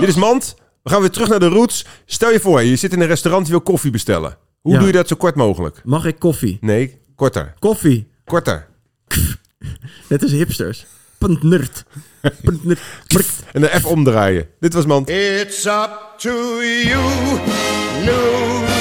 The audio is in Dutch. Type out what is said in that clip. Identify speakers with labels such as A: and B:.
A: Dit is Mand. We gaan weer terug naar de roots. Stel je voor, je zit in een restaurant, je wil koffie bestellen. Hoe
B: Ja.
A: doe je dat zo kort mogelijk?
B: Mag ik koffie?
A: Nee, korter.
B: Koffie.
A: Korter.
B: Net als hipsters. Puntnert. Puntnert. Prkt.
A: En dan even omdraaien. Dit was Mand.
C: It's up to you, news